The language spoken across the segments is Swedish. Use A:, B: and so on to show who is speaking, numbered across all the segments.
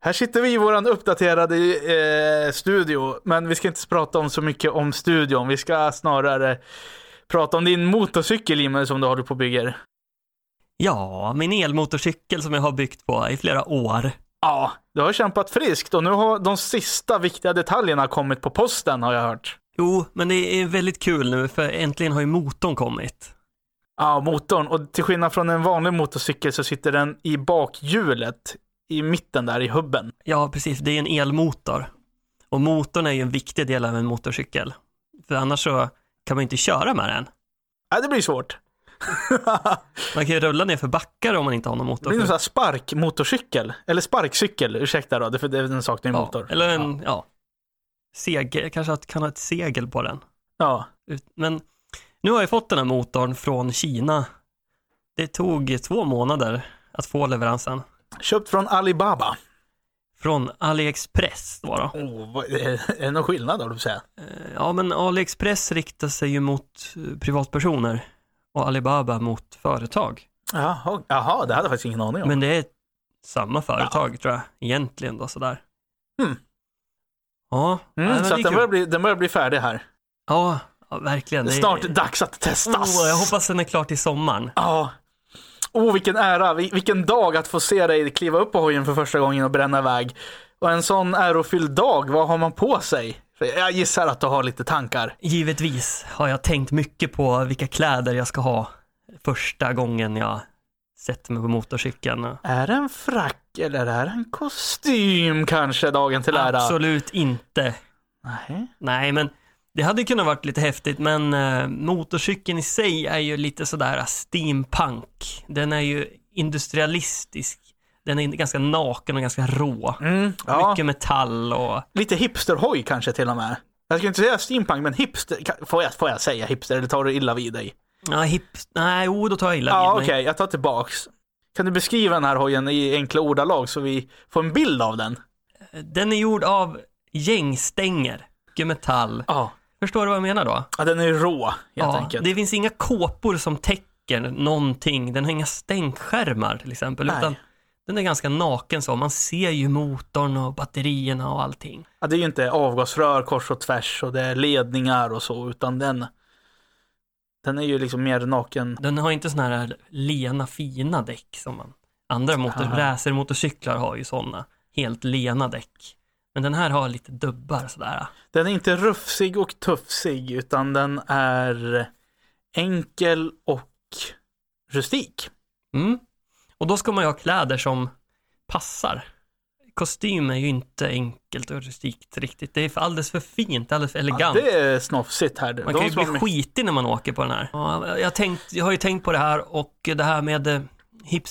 A: Här sitter vi i våran uppdaterade eh, studio, men vi ska inte prata om så mycket om studion. Vi ska snarare prata om din motorcykel, Jimmy, som du håller på och bygger.
B: Ja, min elmotorcykel som jag har byggt på i flera år.
A: Ja, du har kämpat friskt och nu har de sista viktiga detaljerna kommit på posten, har jag hört.
B: Jo, men det är väldigt kul nu för äntligen har ju motorn kommit.
A: Ja, motorn. Och till skillnad från en vanlig motorcykel så sitter den i bakhjulet i mitten där i hubben.
B: Ja, precis. Det är en elmotor. Och motorn är ju en viktig del av en motorcykel. För annars så kan man ju inte köra med den.
A: Ja, det blir svårt.
B: Man kan ju rulla ner för backar om man inte har någon
A: Det
B: motor.
A: blir en sån här sparkmotorcykel. Eller sparkcykel, ursäkta då, det- för det är en sak med
B: ja,
A: motor.
B: eller en, ja. Segel, jag kanske att- kan ha ett segel på den.
A: Ja.
B: Ut- Men nu har jag fått den här motorn från Kina. Det tog två månader att få leveransen.
A: Köpt från Alibaba.
B: Från AliExpress var det.
A: Oh, vad, är det någon skillnad, håller du på att säga?
B: Eh, Ja, men AliExpress riktar sig ju mot eh, privatpersoner och Alibaba mot företag.
A: Jaha, jaha, det hade jag faktiskt ingen aning om.
B: Men det är samma företag tror jag, egentligen då sådär.
A: Hmm.
B: Ja, nej,
A: mm,
B: men
A: så
B: det
A: att
B: är
A: den
B: kul.
A: börjar, bli, den börjar bli färdig här.
B: ja, ja, verkligen.
A: Det är
B: Det är-
A: snart dags att testas.
B: Oh, jag hoppas den är klar till sommaren.
A: Ja. Oh, vilken ära, vil- vilken dag att få se dig kliva upp på hojen för första gången och bränna iväg. Och en sån ärofylld dag, vad har man på sig? För Jag gissar att du har lite tankar.
B: Givetvis har jag tänkt mycket på vilka kläder jag ska ha första gången jag sätter mig på motorcykeln.
A: Är det en frack eller är det en kostym kanske dagen till ära?
B: Absolut inte.
A: Nej.
B: Nej, men det hade kunnat varit lite häftigt, men eh, motorcykeln i sig är ju lite sådär eh, steampunk. Den är ju industrialistisk. Den är ganska naken och ganska rå.
A: Mm, ja.
B: Mycket metall och
A: Lite hipsterhoj kanske till och med. Jag skulle inte säga steampunk, men hipster. kan- Får jag, får jag säga hipster eller tar du illa vid dig?
B: ja, hip... Nej, oh, då tar jag illa
A: Ja,
B: vid
A: okej,
B: mig.
A: jag tar tillbaks. Kan du beskriva den här hojen i enkla ordalag så vi får en bild av den?
B: Den är gjord av gängstänger. Mycket metall.
A: Ja.
B: Förstår du vad jag menar då?
A: Ja, den är rå helt enkelt.
B: det finns inga kåpor som täcker någonting. Den har inga stänkskärmar till exempel.
A: Nej.
B: Utan den är ganska naken så. Man ser ju motorn och batterierna och allting.
A: Ja, det är ju inte avgasrör kors och tvärs och det är ledningar och så, utan den den är ju liksom mer naken.
B: Den har inte sådana här lena fina däck som man, andra motor,
A: Aha.
B: racermotorcyklar har ju sådana helt lena däck. Men den här har lite dubbar sådär.
A: Den är inte rufsig och tufsig, utan den är enkel och rustik.
B: Mm. Och då ska man ju ha kläder som passar. Kostym är ju inte enkelt och rustikt riktigt. Det är för- alldeles för fint, alldeles för
A: Ja,
B: elegant.
A: det är snofsigt här.
B: Man
A: De
B: kan ju
A: som
B: bli
A: har mycket-
B: skitig när man åker på den här. Ja, jag, har tänkt, jag har ju tänkt på det här och det här med eh,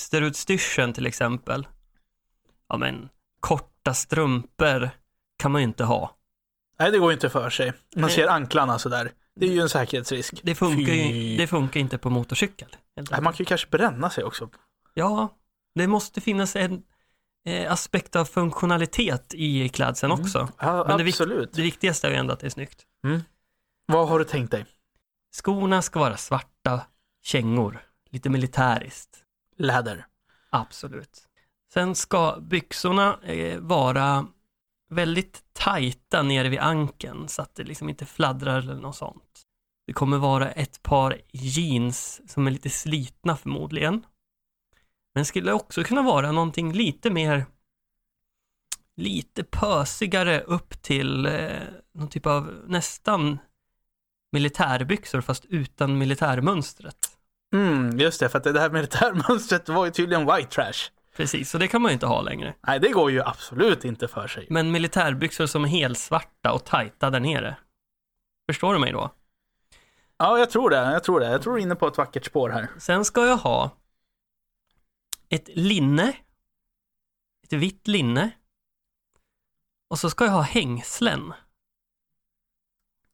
B: hipsterutstyrseln till exempel. Ja men, korta strumpor kan man ju inte ha.
A: Nej, det går ju inte för sig. Man
B: Nej.
A: ser anklarna sådär. Det är ju en säkerhetsrisk.
B: Det funkar
A: Fy.
B: ju det funkar inte på motorcykel. helt
A: Nej,
B: enkelt.
A: Man kan ju kanske bränna sig också.
B: Ja, det måste finnas en eh, aspekt av funktionalitet i klädseln
A: Mm.
B: också.
A: Ja,
B: Men det är vikt-
A: absolut.
B: Det viktigaste är ju ändå att det är snyggt.
A: Vad har du tänkt dig?
B: Skorna ska vara svarta kängor, lite militäriskt.
A: Läder.
B: Absolut. Sen ska byxorna eh, vara väldigt tajta nere vid ankeln så att det liksom inte fladdrar eller något sånt. Det kommer vara ett par jeans som är lite slitna förmodligen. Men skulle också kunna vara någonting lite mer lite pösigare upp till eh, någon typ av nästan militärbyxor fast utan militärmönstret.
A: Mm, just det, för att det här militärmönstret var ju tydligen white trash.
B: Precis, så det kan man ju inte ha längre.
A: Nej, det går ju absolut inte för sig.
B: Men militärbyxor som är helsvarta och tajta där nere. Förstår du mig då?
A: Ja, jag tror det. Jag tror det. Jag tror du är inne på ett vackert spår här.
B: Sen ska jag ha ett linne. Ett vitt linne. Och så ska jag ha hängslen.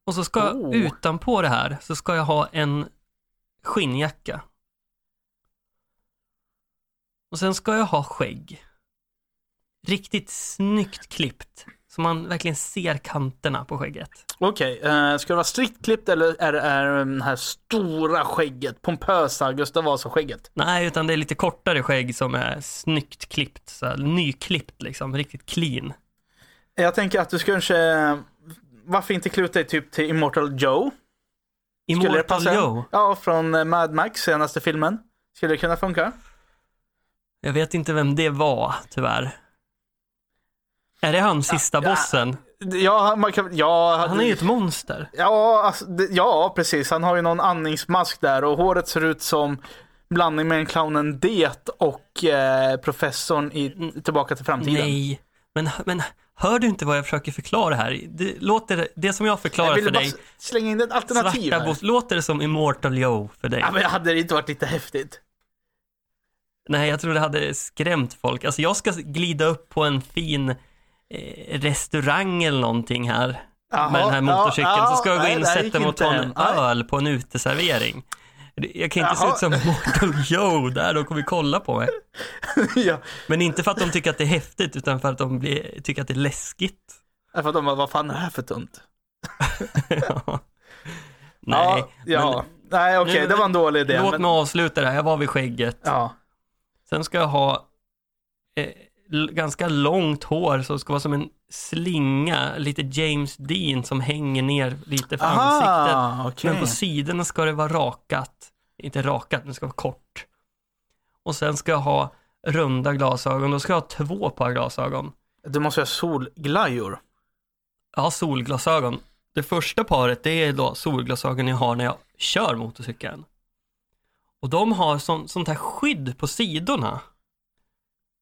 B: Och så ska
A: Oh.
B: jag utanpå det här så ska jag ha en skinnjacka. Och sen ska jag ha skägg. Riktigt snyggt klippt. Så man verkligen ser kanterna på skägget.
A: Okej, eh, ska det vara strikt klippt eller är det är det här stora skägget, pompösa Gustav Vasa-skägget?
B: Nej, utan det är lite kortare skägg som är snyggt klippt. Så här, nyklippt liksom, riktigt clean.
A: Jag tänker att du ska kanske, varför inte kluta dig typ till Immortal Joe? Skulle det
B: Immortal
A: passa?
B: Joe.
A: Ja, från eh, Mad Max, senaste filmen. Skulle det kunna funka?
B: Jag vet inte vem det var, tyvärr. Är det han, sista bossen?
A: Ja, man kan, ja,
B: Han är ju ett monster.
A: ja, alltså, det- ja, precis. Han har ju någon andningsmask där och håret ser ut som blandning mellan clownen Det och eh, professorn i Tillbaka till framtiden.
B: Nej, men, men hör du inte vad jag försöker förklara här? Det, låter, det som jag förklarar
A: Jag ville
B: för
A: bara
B: dig,
A: slänga in ett alternativ
B: svarta
A: här.
B: boss, låter det som Immortal Joe för dig?
A: Ja, men hade det inte varit lite häftigt?
B: Nej, jag tror det hade skrämt folk. Alltså jag ska glida upp på en fin eh, restaurang eller någonting här
A: Jaha,
B: med den här motorcykeln.
A: ja,
B: så ska jag gå
A: nej,
B: in och
A: det här gick
B: sätta mig och
A: inte
B: ta
A: än.
B: en
A: Nej.
B: öl på en uteservering. Jag kan inte
A: Jaha.
B: se ut som Mortal Joe där, de kommer kolla på mig.
A: ja,
B: Men inte för att de tycker att det är häftigt, utan för att de blir, tycker att det är läskigt.
A: för att de bara, vad fan är det här för tunt?
B: Ja. Nej,
A: ja, ja. Nej, okej,
B: Nu-
A: det var en dålig idé.
B: låt
A: men-
B: mig avsluta det här. Jag var vid skägget.
A: Ja.
B: Sen ska jag ha eh, l- ganska långt hår så det ska vara som en slinga, lite James Dean som hänger ner lite för ansiktet.
A: Aha, okej.
B: Men på sidorna ska det vara rakat, inte rakat, men det ska vara kort. Och sen ska jag ha runda glasögon, då ska jag ha två par glasögon.
A: Du måste ha solglajjor.
B: Jag har solglasögon. Det första paret det är då solglasögon jag har när jag kör motorcykeln. Och de har sån, sånt här skydd på sidorna.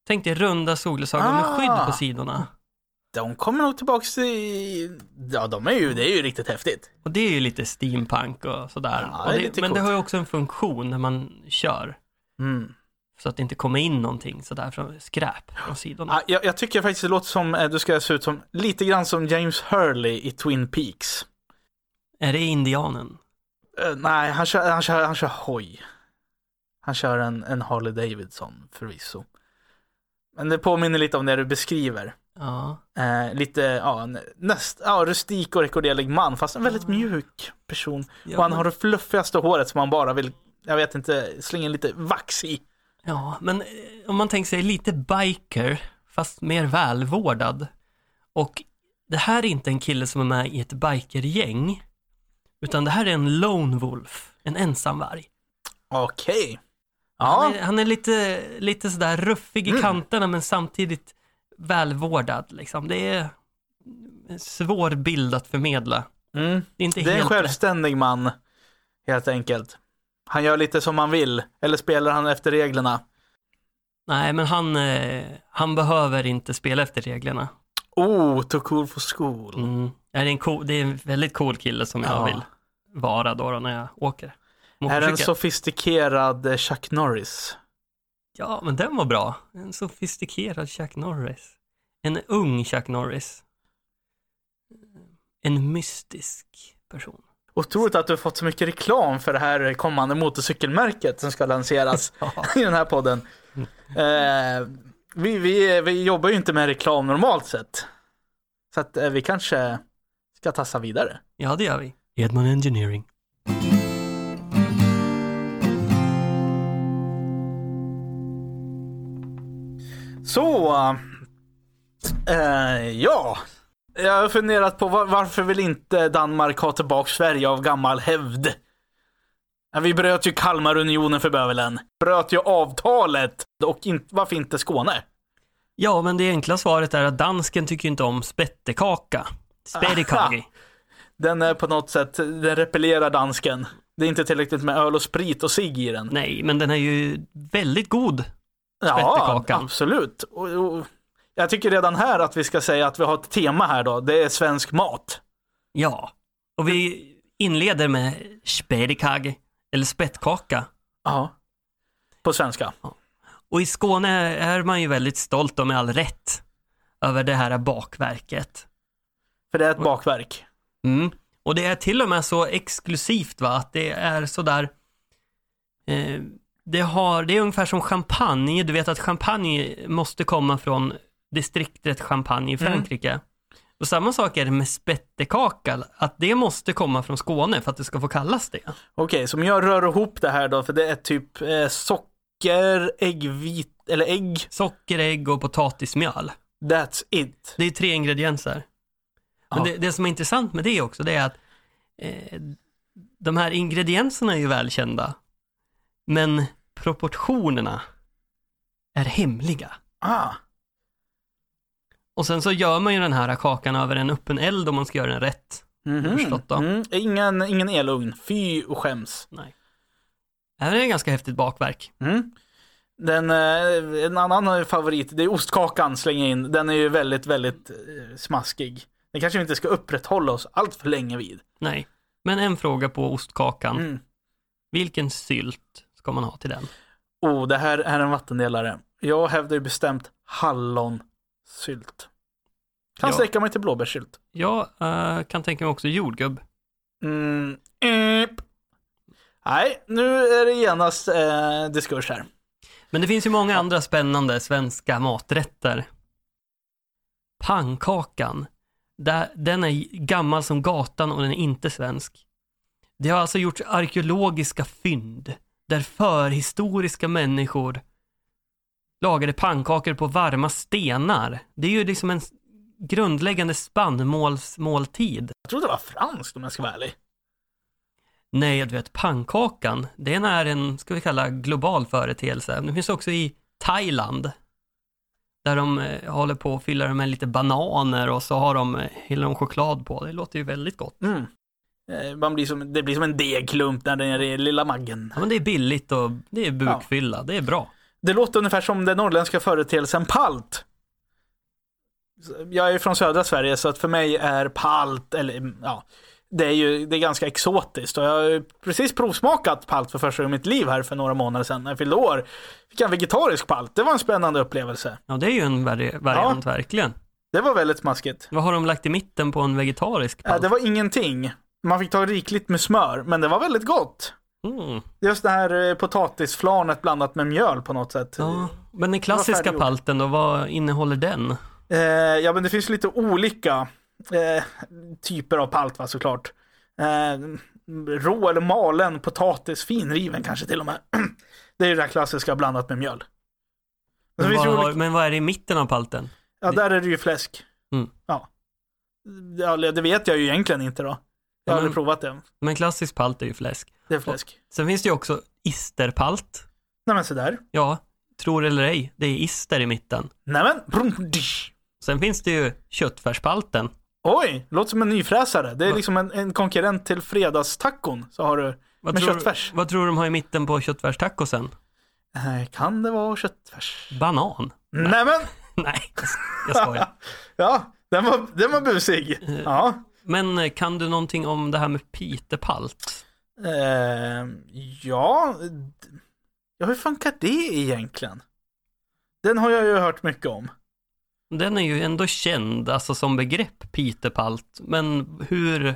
B: Tänk dig runda solglasögon med
A: Ah.
B: skydd på sidorna.
A: De kommer nog tillbaks till... Ja, de är ju, det är ju riktigt häftigt.
B: Och det är ju lite steampunk och sådär.
A: Ja, det är
B: och
A: lite
B: men det
A: coolt.
B: har ju också en funktion när man kör.
A: Mm.
B: Så att det inte kommer in någonting sådär från skräp från sidorna.
A: Ja, jag, jag tycker faktiskt det låter som, eh, du ska se ut som, lite grann som James Hurley i Twin Peaks.
B: Är det indianen?
A: Eh, nej, han kör, han, kör, han kör hoj. Han kör en, en Harley Davidson förvisso. Men det påminner lite om det du beskriver.
B: Ja.
A: Eh, lite, ja, en näst, ja, rustik och rekorderlig man, fast en väldigt
B: Ja.
A: mjuk person.
B: Ja,
A: och han
B: men-
A: har det fluffigaste håret som man bara vill, jag vet inte, slänga lite vax i.
B: Ja, men eh, om man tänker sig lite biker, fast mer välvårdad. Och det här är inte en kille som är med i ett bikergäng, utan det här är en lone wolf, en ensamvarg.
A: Okej.
B: Han
A: Ja,
B: är, han är lite, lite sådär ruffig i
A: Mm.
B: kanterna, men samtidigt välvårdad. Liksom. Det är en svår bild att förmedla.
A: mm.
B: Det är inte
A: det är en
B: helt rätt.
A: självständig man, helt enkelt. Han gör lite som han vill, eller spelar han efter reglerna.
B: Nej, men han, eh, han behöver inte spela efter reglerna.
A: Oh, too cool for school.
B: Mm. Är det, en cool, det är en väldigt cool kille som jag
A: Ja.
B: vill vara då, då när jag åker.
A: Är en
B: motorcykel.
A: sofistikerad eh, Chuck Norris.
B: Ja, men den var bra. En sofistikerad Chuck Norris. En ung Chuck Norris. En mystisk person.
A: Otroligt att du har fått så mycket reklam för det här kommande motorcykelmärket som ska lanseras
B: Ja.
A: i den här podden. Eh, vi, vi, vi jobbar ju inte med reklam normalt sett. Så att eh, vi kanske ska tassa vidare.
B: Ja, det gör vi. Edman Engineering.
A: Så, eh, ja. Jag har funderat på var, varför vill inte Danmark ha tillbaka Sverige av gammal hävd? Ja, Vi bröt ju Kalmarunionen för bövelen. Bröt ju avtalet. Och in, varför inte Skåne?
B: Ja, men det enkla svaret är att dansken tycker inte om spettekaka. Spettekagi.
A: Den är på något sätt, den repellerar dansken. Det är inte tillräckligt med öl och sprit och cigg i den.
B: Nej, men den är ju väldigt god.
A: Ja,
B: Spettekakan.
A: absolut. Och, och, jag tycker redan här att vi ska säga att vi har ett tema här då. Det är svensk mat.
B: Ja. Och vi inleder med spettekagi, eller spettkaka.
A: Ja. På svenska.
B: Och i Skåne är man ju väldigt stolt och med all rätt över det här bakverket.
A: För det är ett bakverk.
B: Mm. Och det är till och med så exklusivt va, att det är sådär eh, det, har, det är ungefär som champagne, du vet att champagne måste komma från distriktet champagne i Frankrike. Och samma sak är det med spettekaka, att det måste komma från Skåne för att det ska få kallas det.
A: Okej, så om jag rör ihop det här då, för det är typ eh, socker, äggvit, eller ägg.
B: Socker, ägg och potatismjöl.
A: That's it.
B: Det är tre ingredienser. Men
A: Ja.
B: det, det som är intressant med det också, det är att eh, de här ingredienserna är ju välkända, men proportionerna är hemliga.
A: Ah,
B: Och sen så gör man ju den här kakan över en öppen eld om man ska göra den rätt.
A: mhm.
B: Förstått då.
A: Mm, ingen, ingen elugn. Fy och skäms.
B: Det här är ett ganska häftigt bakverk.
A: Mm. Den, eh, en annan favorit, det är ostkakan, slänger jag in. Den är ju väldigt, väldigt eh, smaskig. Den kanske vi inte ska upprätthålla oss allt för länge vid.
B: Nej. Men en fråga på ostkakan.
A: Mm.
B: Vilken sylt ska man ha till den?
A: Oh, det här är en vattendelare. Jag hävdar ju bestämt hallonsylt. Kan
B: Ja.
A: sträcka mig till blåbärssylt.
B: Jag eh, kan tänka mig också jordgubb.
A: Mm. Eep. Nej, nu är det genast eh, diskurs här.
B: Men det finns ju många andra spännande svenska maträtter. Pannkakan. Där- Den är gammal som gatan och den är inte svensk. Det har alltså gjorts arkeologiska fynd där förhistoriska människor lagade pannkakor på varma stenar. Det är ju liksom en s- grundläggande spannmålsmåltid.
A: Jag trodde det var franskt om jag ska vara ärlig.
B: Nej, du vet pannkakan, den är en, ska vi kalla global företeelse. Den finns också i Thailand. Där de eh, håller på att fylla den med lite bananer och så har de, eh, häller de choklad på. Det låter ju väldigt gott.
A: Mm. Eh, Man blir som, det blir som en degklump när den är i lilla maggen.
B: Ja, men det är billigt och det är bukfylla, det är bra.
A: Det låter ungefär som den norrländska företeelsen palt. Jag är från södra Sverige så att för mig är palt, eller ja, det är ju det är ganska exotiskt och jag har ju precis provsmakat palt för första gången i mitt liv här för några månader sedan när jag fyllde år. Fick jag en vegetarisk palt, det var en spännande upplevelse.
B: Ja, det är ju en vari- variant verkligen.
A: Det var väldigt smaskigt.
B: Vad har de lagt i mitten på en vegetarisk
A: Ja,
B: pall?
A: det var ingenting. Man fick ta rikligt med smör, men det var väldigt gott.
B: Mm.
A: Just det här eh, potatisflanet blandat med mjöl på något sätt.
B: Ja. Men den klassiska
A: färdiggjord.
B: palten då, vad innehåller den?
A: Eh, ja, men det finns lite olika eh, typer av palt va, såklart. Eh, rå eller malen potatis, finriven kanske till och med. Det är ju det här klassiska blandat med mjöl. Det
B: Men
A: finns
B: vad,
A: ju
B: har,
A: olika-
B: men vad är det i mitten av palten?
A: Ja, där är det ju fläsk.
B: Mm.
A: Ja. ja, det vet jag ju egentligen inte då. Jag har
B: Ja, men-
A: aldrig provat det.
B: Men klassisk palt är ju fläsk.
A: Det är fläsk.
B: Sen finns det ju också isterpalt.
A: Nej men sådär.
B: Ja, tror eller ej, det är ister i mitten.
A: Nej men. brum, dish.
B: Sen finns det ju köttfärspalten.
A: Oj, låter som en nyfräsare. Det är liksom en, en konkurrent till fredagstacon. Så har du
B: Vad
A: med
B: tror,
A: köttfärs.
B: Vad tror du de har i mitten på köttfärstacosen?
A: Eh, Kan det vara köttfärs?
B: Banan?
A: Nej men.
B: Nej, jag skojar.
A: Ja, den var, den var busig. Ja.
B: Men eh, kan du någonting om det här med pitepalt?
A: Eh, ja. d- ja, hur funkar det egentligen? Den har jag ju hört mycket om.
B: Den är ju ändå känd, alltså som begrepp, pitepalt. Men hur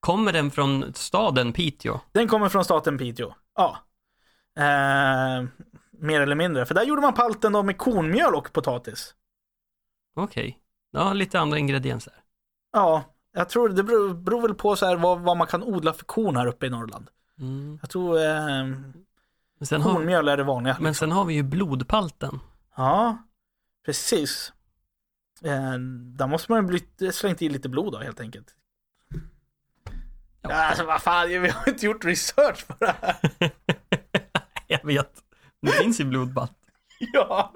B: kommer den från staden Piteå?
A: Den kommer från staten Piteå. Ja. Eh, mer eller mindre. För där gjorde man palten då med kornmjöl och potatis.
B: Okej, ja lite andra ingredienser.
A: Ja, jag tror det beror, beror väl på så här vad, vad man kan odla för korn här uppe i Norrland.
B: Mm.
A: Jag tror eh,
B: Men Sen har,
A: kornmjöl är det vanliga.
B: men sen har vi ju blodpalten.
A: Ja, precis. Eh, där måste man ju bli, slängt i lite blod då helt enkelt.
B: Ja.
A: Alltså vad fan, vi har inte gjort research på det här.
B: Jag vet. Det finns ju blodbad.
A: Ja,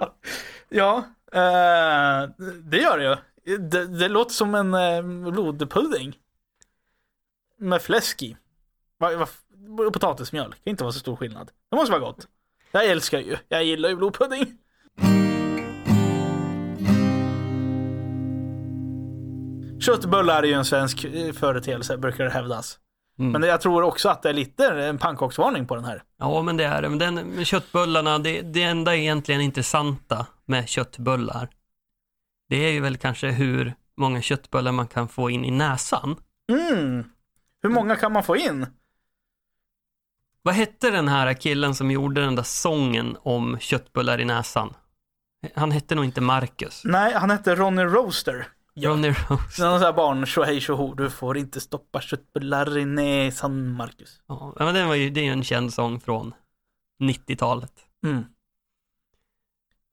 A: ja eh, det gör det ju. Det, det låter som en eh, blodpudding. Med fläsk i. Va, va, och potatismjöl, det kan inte vara så stor skillnad. Det måste vara gott. Jag älskar ju, jag gillar ju blodpudding. Köttbullar är ju en svensk eh, företeelse, brukar det hävdas.
B: Mm.
A: Men jag tror också att det är lite en pannkaksvarning på den här.
B: Ja, men det är det. Men den, men köttbullarna, det, det enda egentligen intressanta med köttbullar, det är ju väl kanske hur många köttbullar man kan få in i näsan.
A: Mm. Hur många kan man få in?
B: Vad hette den här killen som gjorde den där sången om köttbullar i näsan? Han hette nog inte Marcus.
A: Nej, han hette Ronny Roaster. Ja.
B: Ronny Rose.
A: Någon sån här barn, tjohej tjoho, du får inte stoppa köttbullar i näsan, Marcus.
B: Ja, men den var ju, det är ju en känd sång från 90-talet.
A: Mm.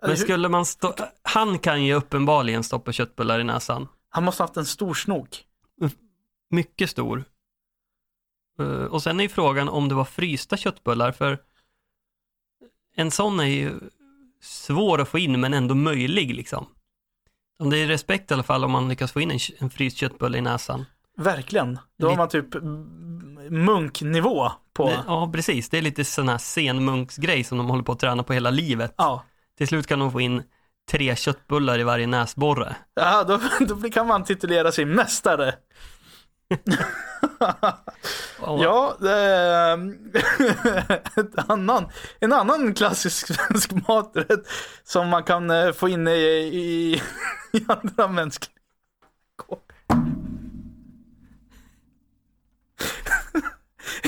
B: Men skulle man stå, han kan ju uppenbarligen stoppa köttbullar i näsan.
A: Han måste haft en stor snog.
B: Mycket stor. Eh, Och sen är ju frågan om det var frysta köttbullar, för en sån är ju svår att få in, men ändå möjlig liksom. Om det är respekt i alla fall om man lyckas få in en, kö- en fryst köttbulle i näsan.
A: Verkligen. Då har
B: Lite-
A: man typ mm, munknivå på...
B: Det, ja, precis. Det är lite sån här senmunksgrej som de håller på att träna på hela livet.
A: Ja.
B: Till slut kan de få in tre köttbullar i varje näsborre.
A: Ja, då, då blir- kan man titulera sig mästare.
B: Och-
A: Ja, eh, ett annan, en annan klassisk svensk maträtt som man kan eh, få in i, i, i andra mänskliga kropp.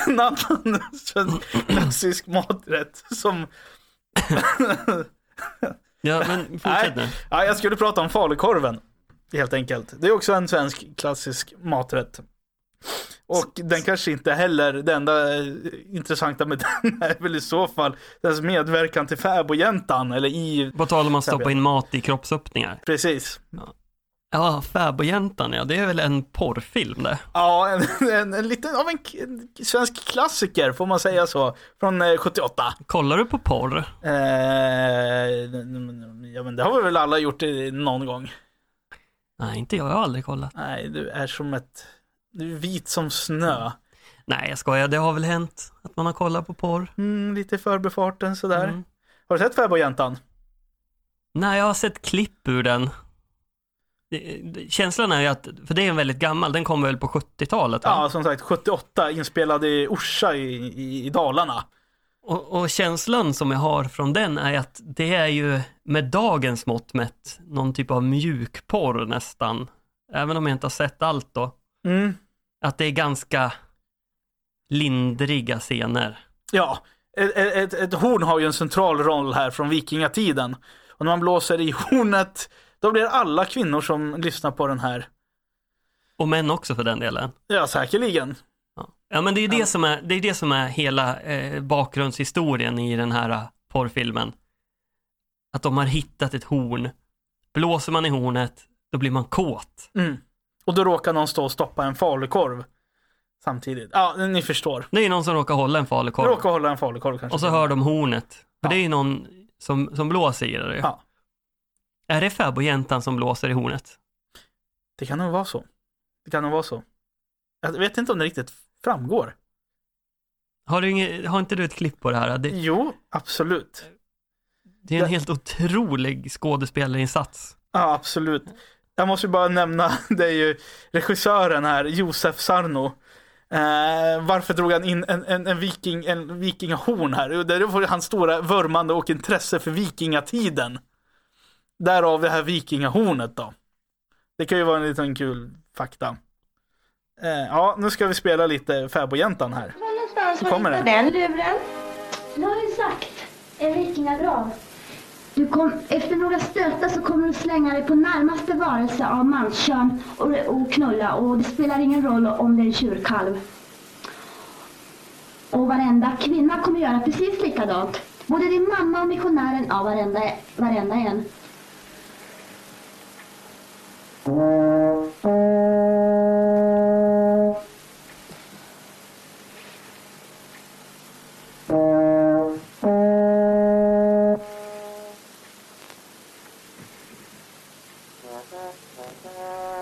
A: En annan svensk- klassisk maträtt som...
B: Ja, men fortsätt nu.
A: Nej, ja, jag skulle prata om falukorven. Helt enkelt. Det är också en svensk klassisk maträtt. Och den kanske inte heller, det enda eh, intressanta med den är väl i så fall dess medverkan till fäbodjäntan, eller i,
B: På tal om att stoppa in mat i kroppsöppningar.
A: precis.
B: Ja, Fäbodjäntan ja, det är väl en porrfilm det.
A: Ja, en, en, en liten, av en, k- en svensk klassiker, får man säga så, från eh, 78.
B: Kollar du på porr?
A: Eh, ja men det har vi väl alla gjort eh, någon gång.
B: Nej, inte jag. Jag har aldrig kollat.
A: Nej, du är som ett, du är vit som snö.
B: Nej, jag skojar. Det har väl hänt att man har kollat på porr.
A: Mm, lite i förbifarten sådär.
B: Mm.
A: Har du sett Fäbodjäntan?
B: Nej, jag har sett klipp ur den. Det, det, känslan är ju att, för det är en väldigt gammal, den kom väl på 70-talet? va?
A: Ja, som sagt 78, inspelad i Orsa i, i, i Dalarna.
B: Och, och känslan som jag har från den är att det är ju med dagens mått mätt någon typ av mjukporr nästan. Även om jag inte har sett allt då.
A: Mm.
B: Att det är ganska lindriga scener.
A: Ja, ett, ett, ett, ett horn har ju en central roll här från vikingatiden. Och när man blåser i hornet, då blir alla kvinnor som lyssnar på den här,
B: Och män också för den delen.
A: ja säkerligen.
B: Ja, ja men det är ju det, som är, det, är det som är hela eh, bakgrundshistorien i den här eh, porrfilmen. Att de har hittat ett horn. Blåser man i hornet, då blir man kåt.
A: Mm. Och då råkar någon stå och stoppa en falukorv samtidigt. Ja, ni förstår.
B: Det är ju någon som råkar hålla en falukorv.
A: Råkar hålla en falukorv kanske.
B: Och så hör de hornet. För
A: Ja.
B: det är ju någon som, som blåser i det. ju.
A: Ja.
B: Är det fäbodjäntan som blåser i hornet?
A: Det kan nog vara så. Det kan nog vara så. Jag vet inte om det riktigt framgår.
B: Har, du inget, har inte du ett klipp på det här? Det,
A: Jo, absolut.
B: det är en
A: det-
B: helt otrolig skådespelarinsats.
A: Ja, absolut. Jag måste ju bara nämna, det är ju regissören här, Josef Sarno. Eh, varför drog han in en, en, en, viking, en vikingahorn här? Jo, Det var hans stora vurmande och intresse för vikingatiden. Därav det här vikingahornet då. Det kan ju vara en liten kul fakta. Eh, ja, nu ska vi spela lite Fäbodjäntan här.
C: Var någonstans var
A: Kommer
C: hittade den luren?
D: Det har jag ju sagt. En vikingagrav. Du kom, efter några stötar så kommer du slänga dig på närmaste varelse av manskön och, och knulla och det spelar ingen roll om det är en tjurkalv. Och varenda kvinna kommer göra precis likadant. Både din mamma och missionären, ja varenda, varenda en.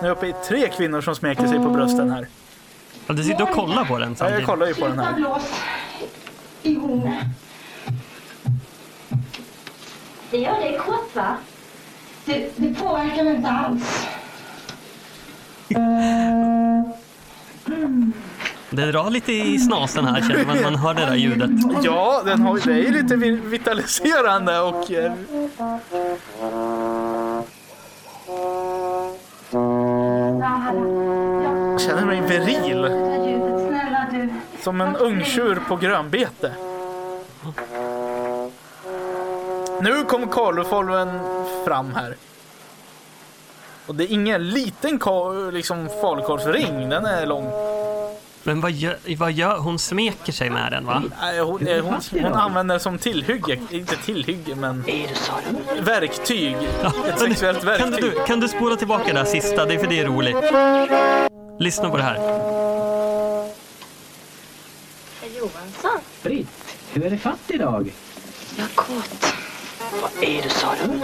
A: Nu är jag uppe i tre kvinnor som smeker sig på brösten här.
B: Ja, du sitter och kollar på den
A: Ja, jag
B: samtidigt.
A: kollar ju på den
D: Sluta
A: här. Mm.
D: blås i hornet. Det gör dig kåt va?
C: Det, det påverkar mig inte alls.
B: Det drar lite i snasen här känner man. Man hör det där ljudet.
A: Ja, den har, det är ju lite vi- vitaliserande och... eh,
D: Jag
A: Känner mig viril.
D: ljudet, snälla du.
A: Som en ungtjur på grönbete. Nu kom Karlufolven fram här. Och det är ingen liten ka- liksom, falukorvsring, den är lång.
B: Men vad gör, vad gör hon? smeker sig med den va?
A: Nej, hon, eh, hon, hon använder det som tillhygge, inte tillhygge men verktyg. Ett sexuellt
B: Kan
A: verktyg.
B: du, kan du spola tillbaka det här sista? Det är för det är roligt. Lyssna på det här.
C: Johansson?
E: Britt, hur är det fatt idag?
C: Jag är kåt.
B: Vad är det sa du?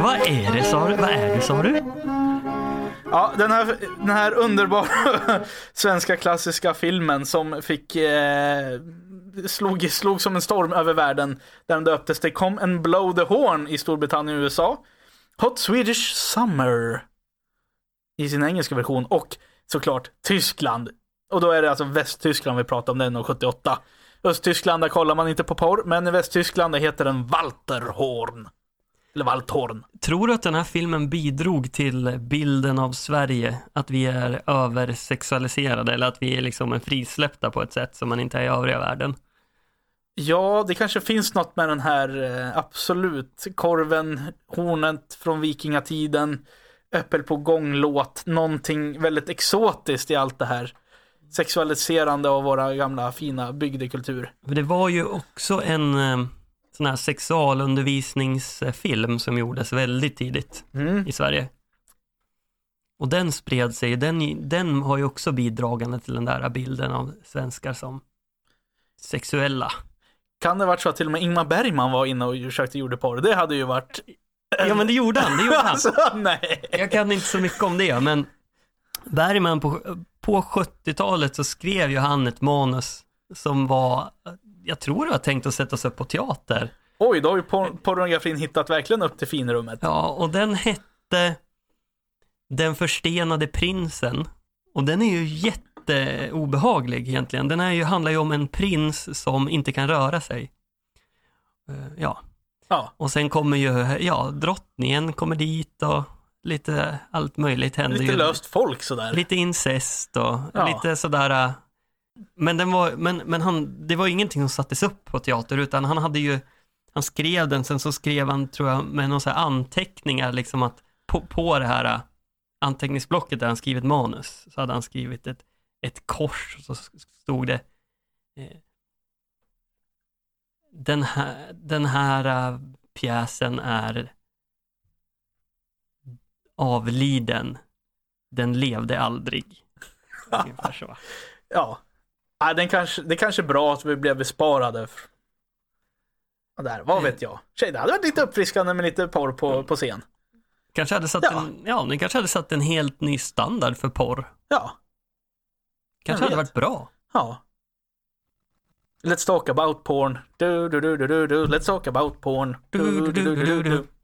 B: Vad är det sa du?
A: Ja, den här, den här underbara svenska klassiska filmen som fick eh, slog, slog som en storm över världen. Där den döptes till Come and blow the horn i Storbritannien och USA. Hot Swedish Summer. I sin engelska version och såklart Tyskland. Och då är det alltså Västtyskland vi pratar om, den och 78. Östtyskland, där kollar man inte på porr, men i Västtyskland där heter den Walterhorn. Eller Walthorn.
B: Tror du att den här filmen bidrog till bilden av Sverige? Att vi är översexualiserade eller att vi är liksom är frisläppta på ett sätt som man inte är i övriga världen?
A: Ja, det kanske finns något med den här, eh, absolut. Korven, hornet från vikingatiden, äppel på gång-låt, någonting väldigt exotiskt i allt det här. Sexualiserande av våra gamla fina bygdekultur.
B: För Det var ju också en eh, sån här sexualundervisningsfilm som gjordes väldigt tidigt
A: Mm.
B: i Sverige. Och den spred sig, den, den har ju också bidragande till den där bilden av svenskar som sexuella.
A: Kan det varit så att till och med Ingmar Bergman var inne och försökte gjorde porr? Det hade ju varit...
B: Ja men det gjorde han, det gjorde han.
A: Alltså, nej!
B: Jag kan inte så mycket om det, men Bergman på, på 70-talet så skrev ju han ett manus som var, jag tror det var tänkt att sättas upp på teater.
A: Oj, då har ju por- pornografin hittat verkligen upp till finrummet.
B: Ja, och den hette Den förstenade prinsen. Och den är ju jätteobehaglig egentligen. Den är ju, handlar ju om en prins som inte kan röra sig. Eh, Ja,
A: Ja.
B: och sen kommer ju, ja, drottningen kommer dit och lite allt möjligt händer
A: Lite
B: ju.
A: löst folk sådär.
B: Lite incest och
A: Ja.
B: lite sådär. äh, Men, den var, men, men han, det var ingenting som sattes upp på teater utan han hade ju, han skrev den, sen så skrev han tror jag med några anteckningar liksom att på, på det här äh, anteckningsblocket där han skrivit manus så hade han skrivit ett, ett kors och så stod det eh, den här, den här äh, pjäsen är avliden den levde aldrig. Ungefär så.
A: Ja. Nej, den kanske, det kanske är bra att vi blev besparade. f- Och där, vad vet jag. Tjej, det hade varit lite uppfriskande med lite porr på, på scen.
B: Kanske hade satt
A: Ja.
B: en, ja, den kanske hade satt en helt ny standard för porr.
A: Ja.
B: Kanske
A: Jag
B: hade
A: vet.
B: varit bra.
A: Ja. Let's talk about porn. Du, du, du, du, du, du. Let's talk about porn. Du, du, du, du, du.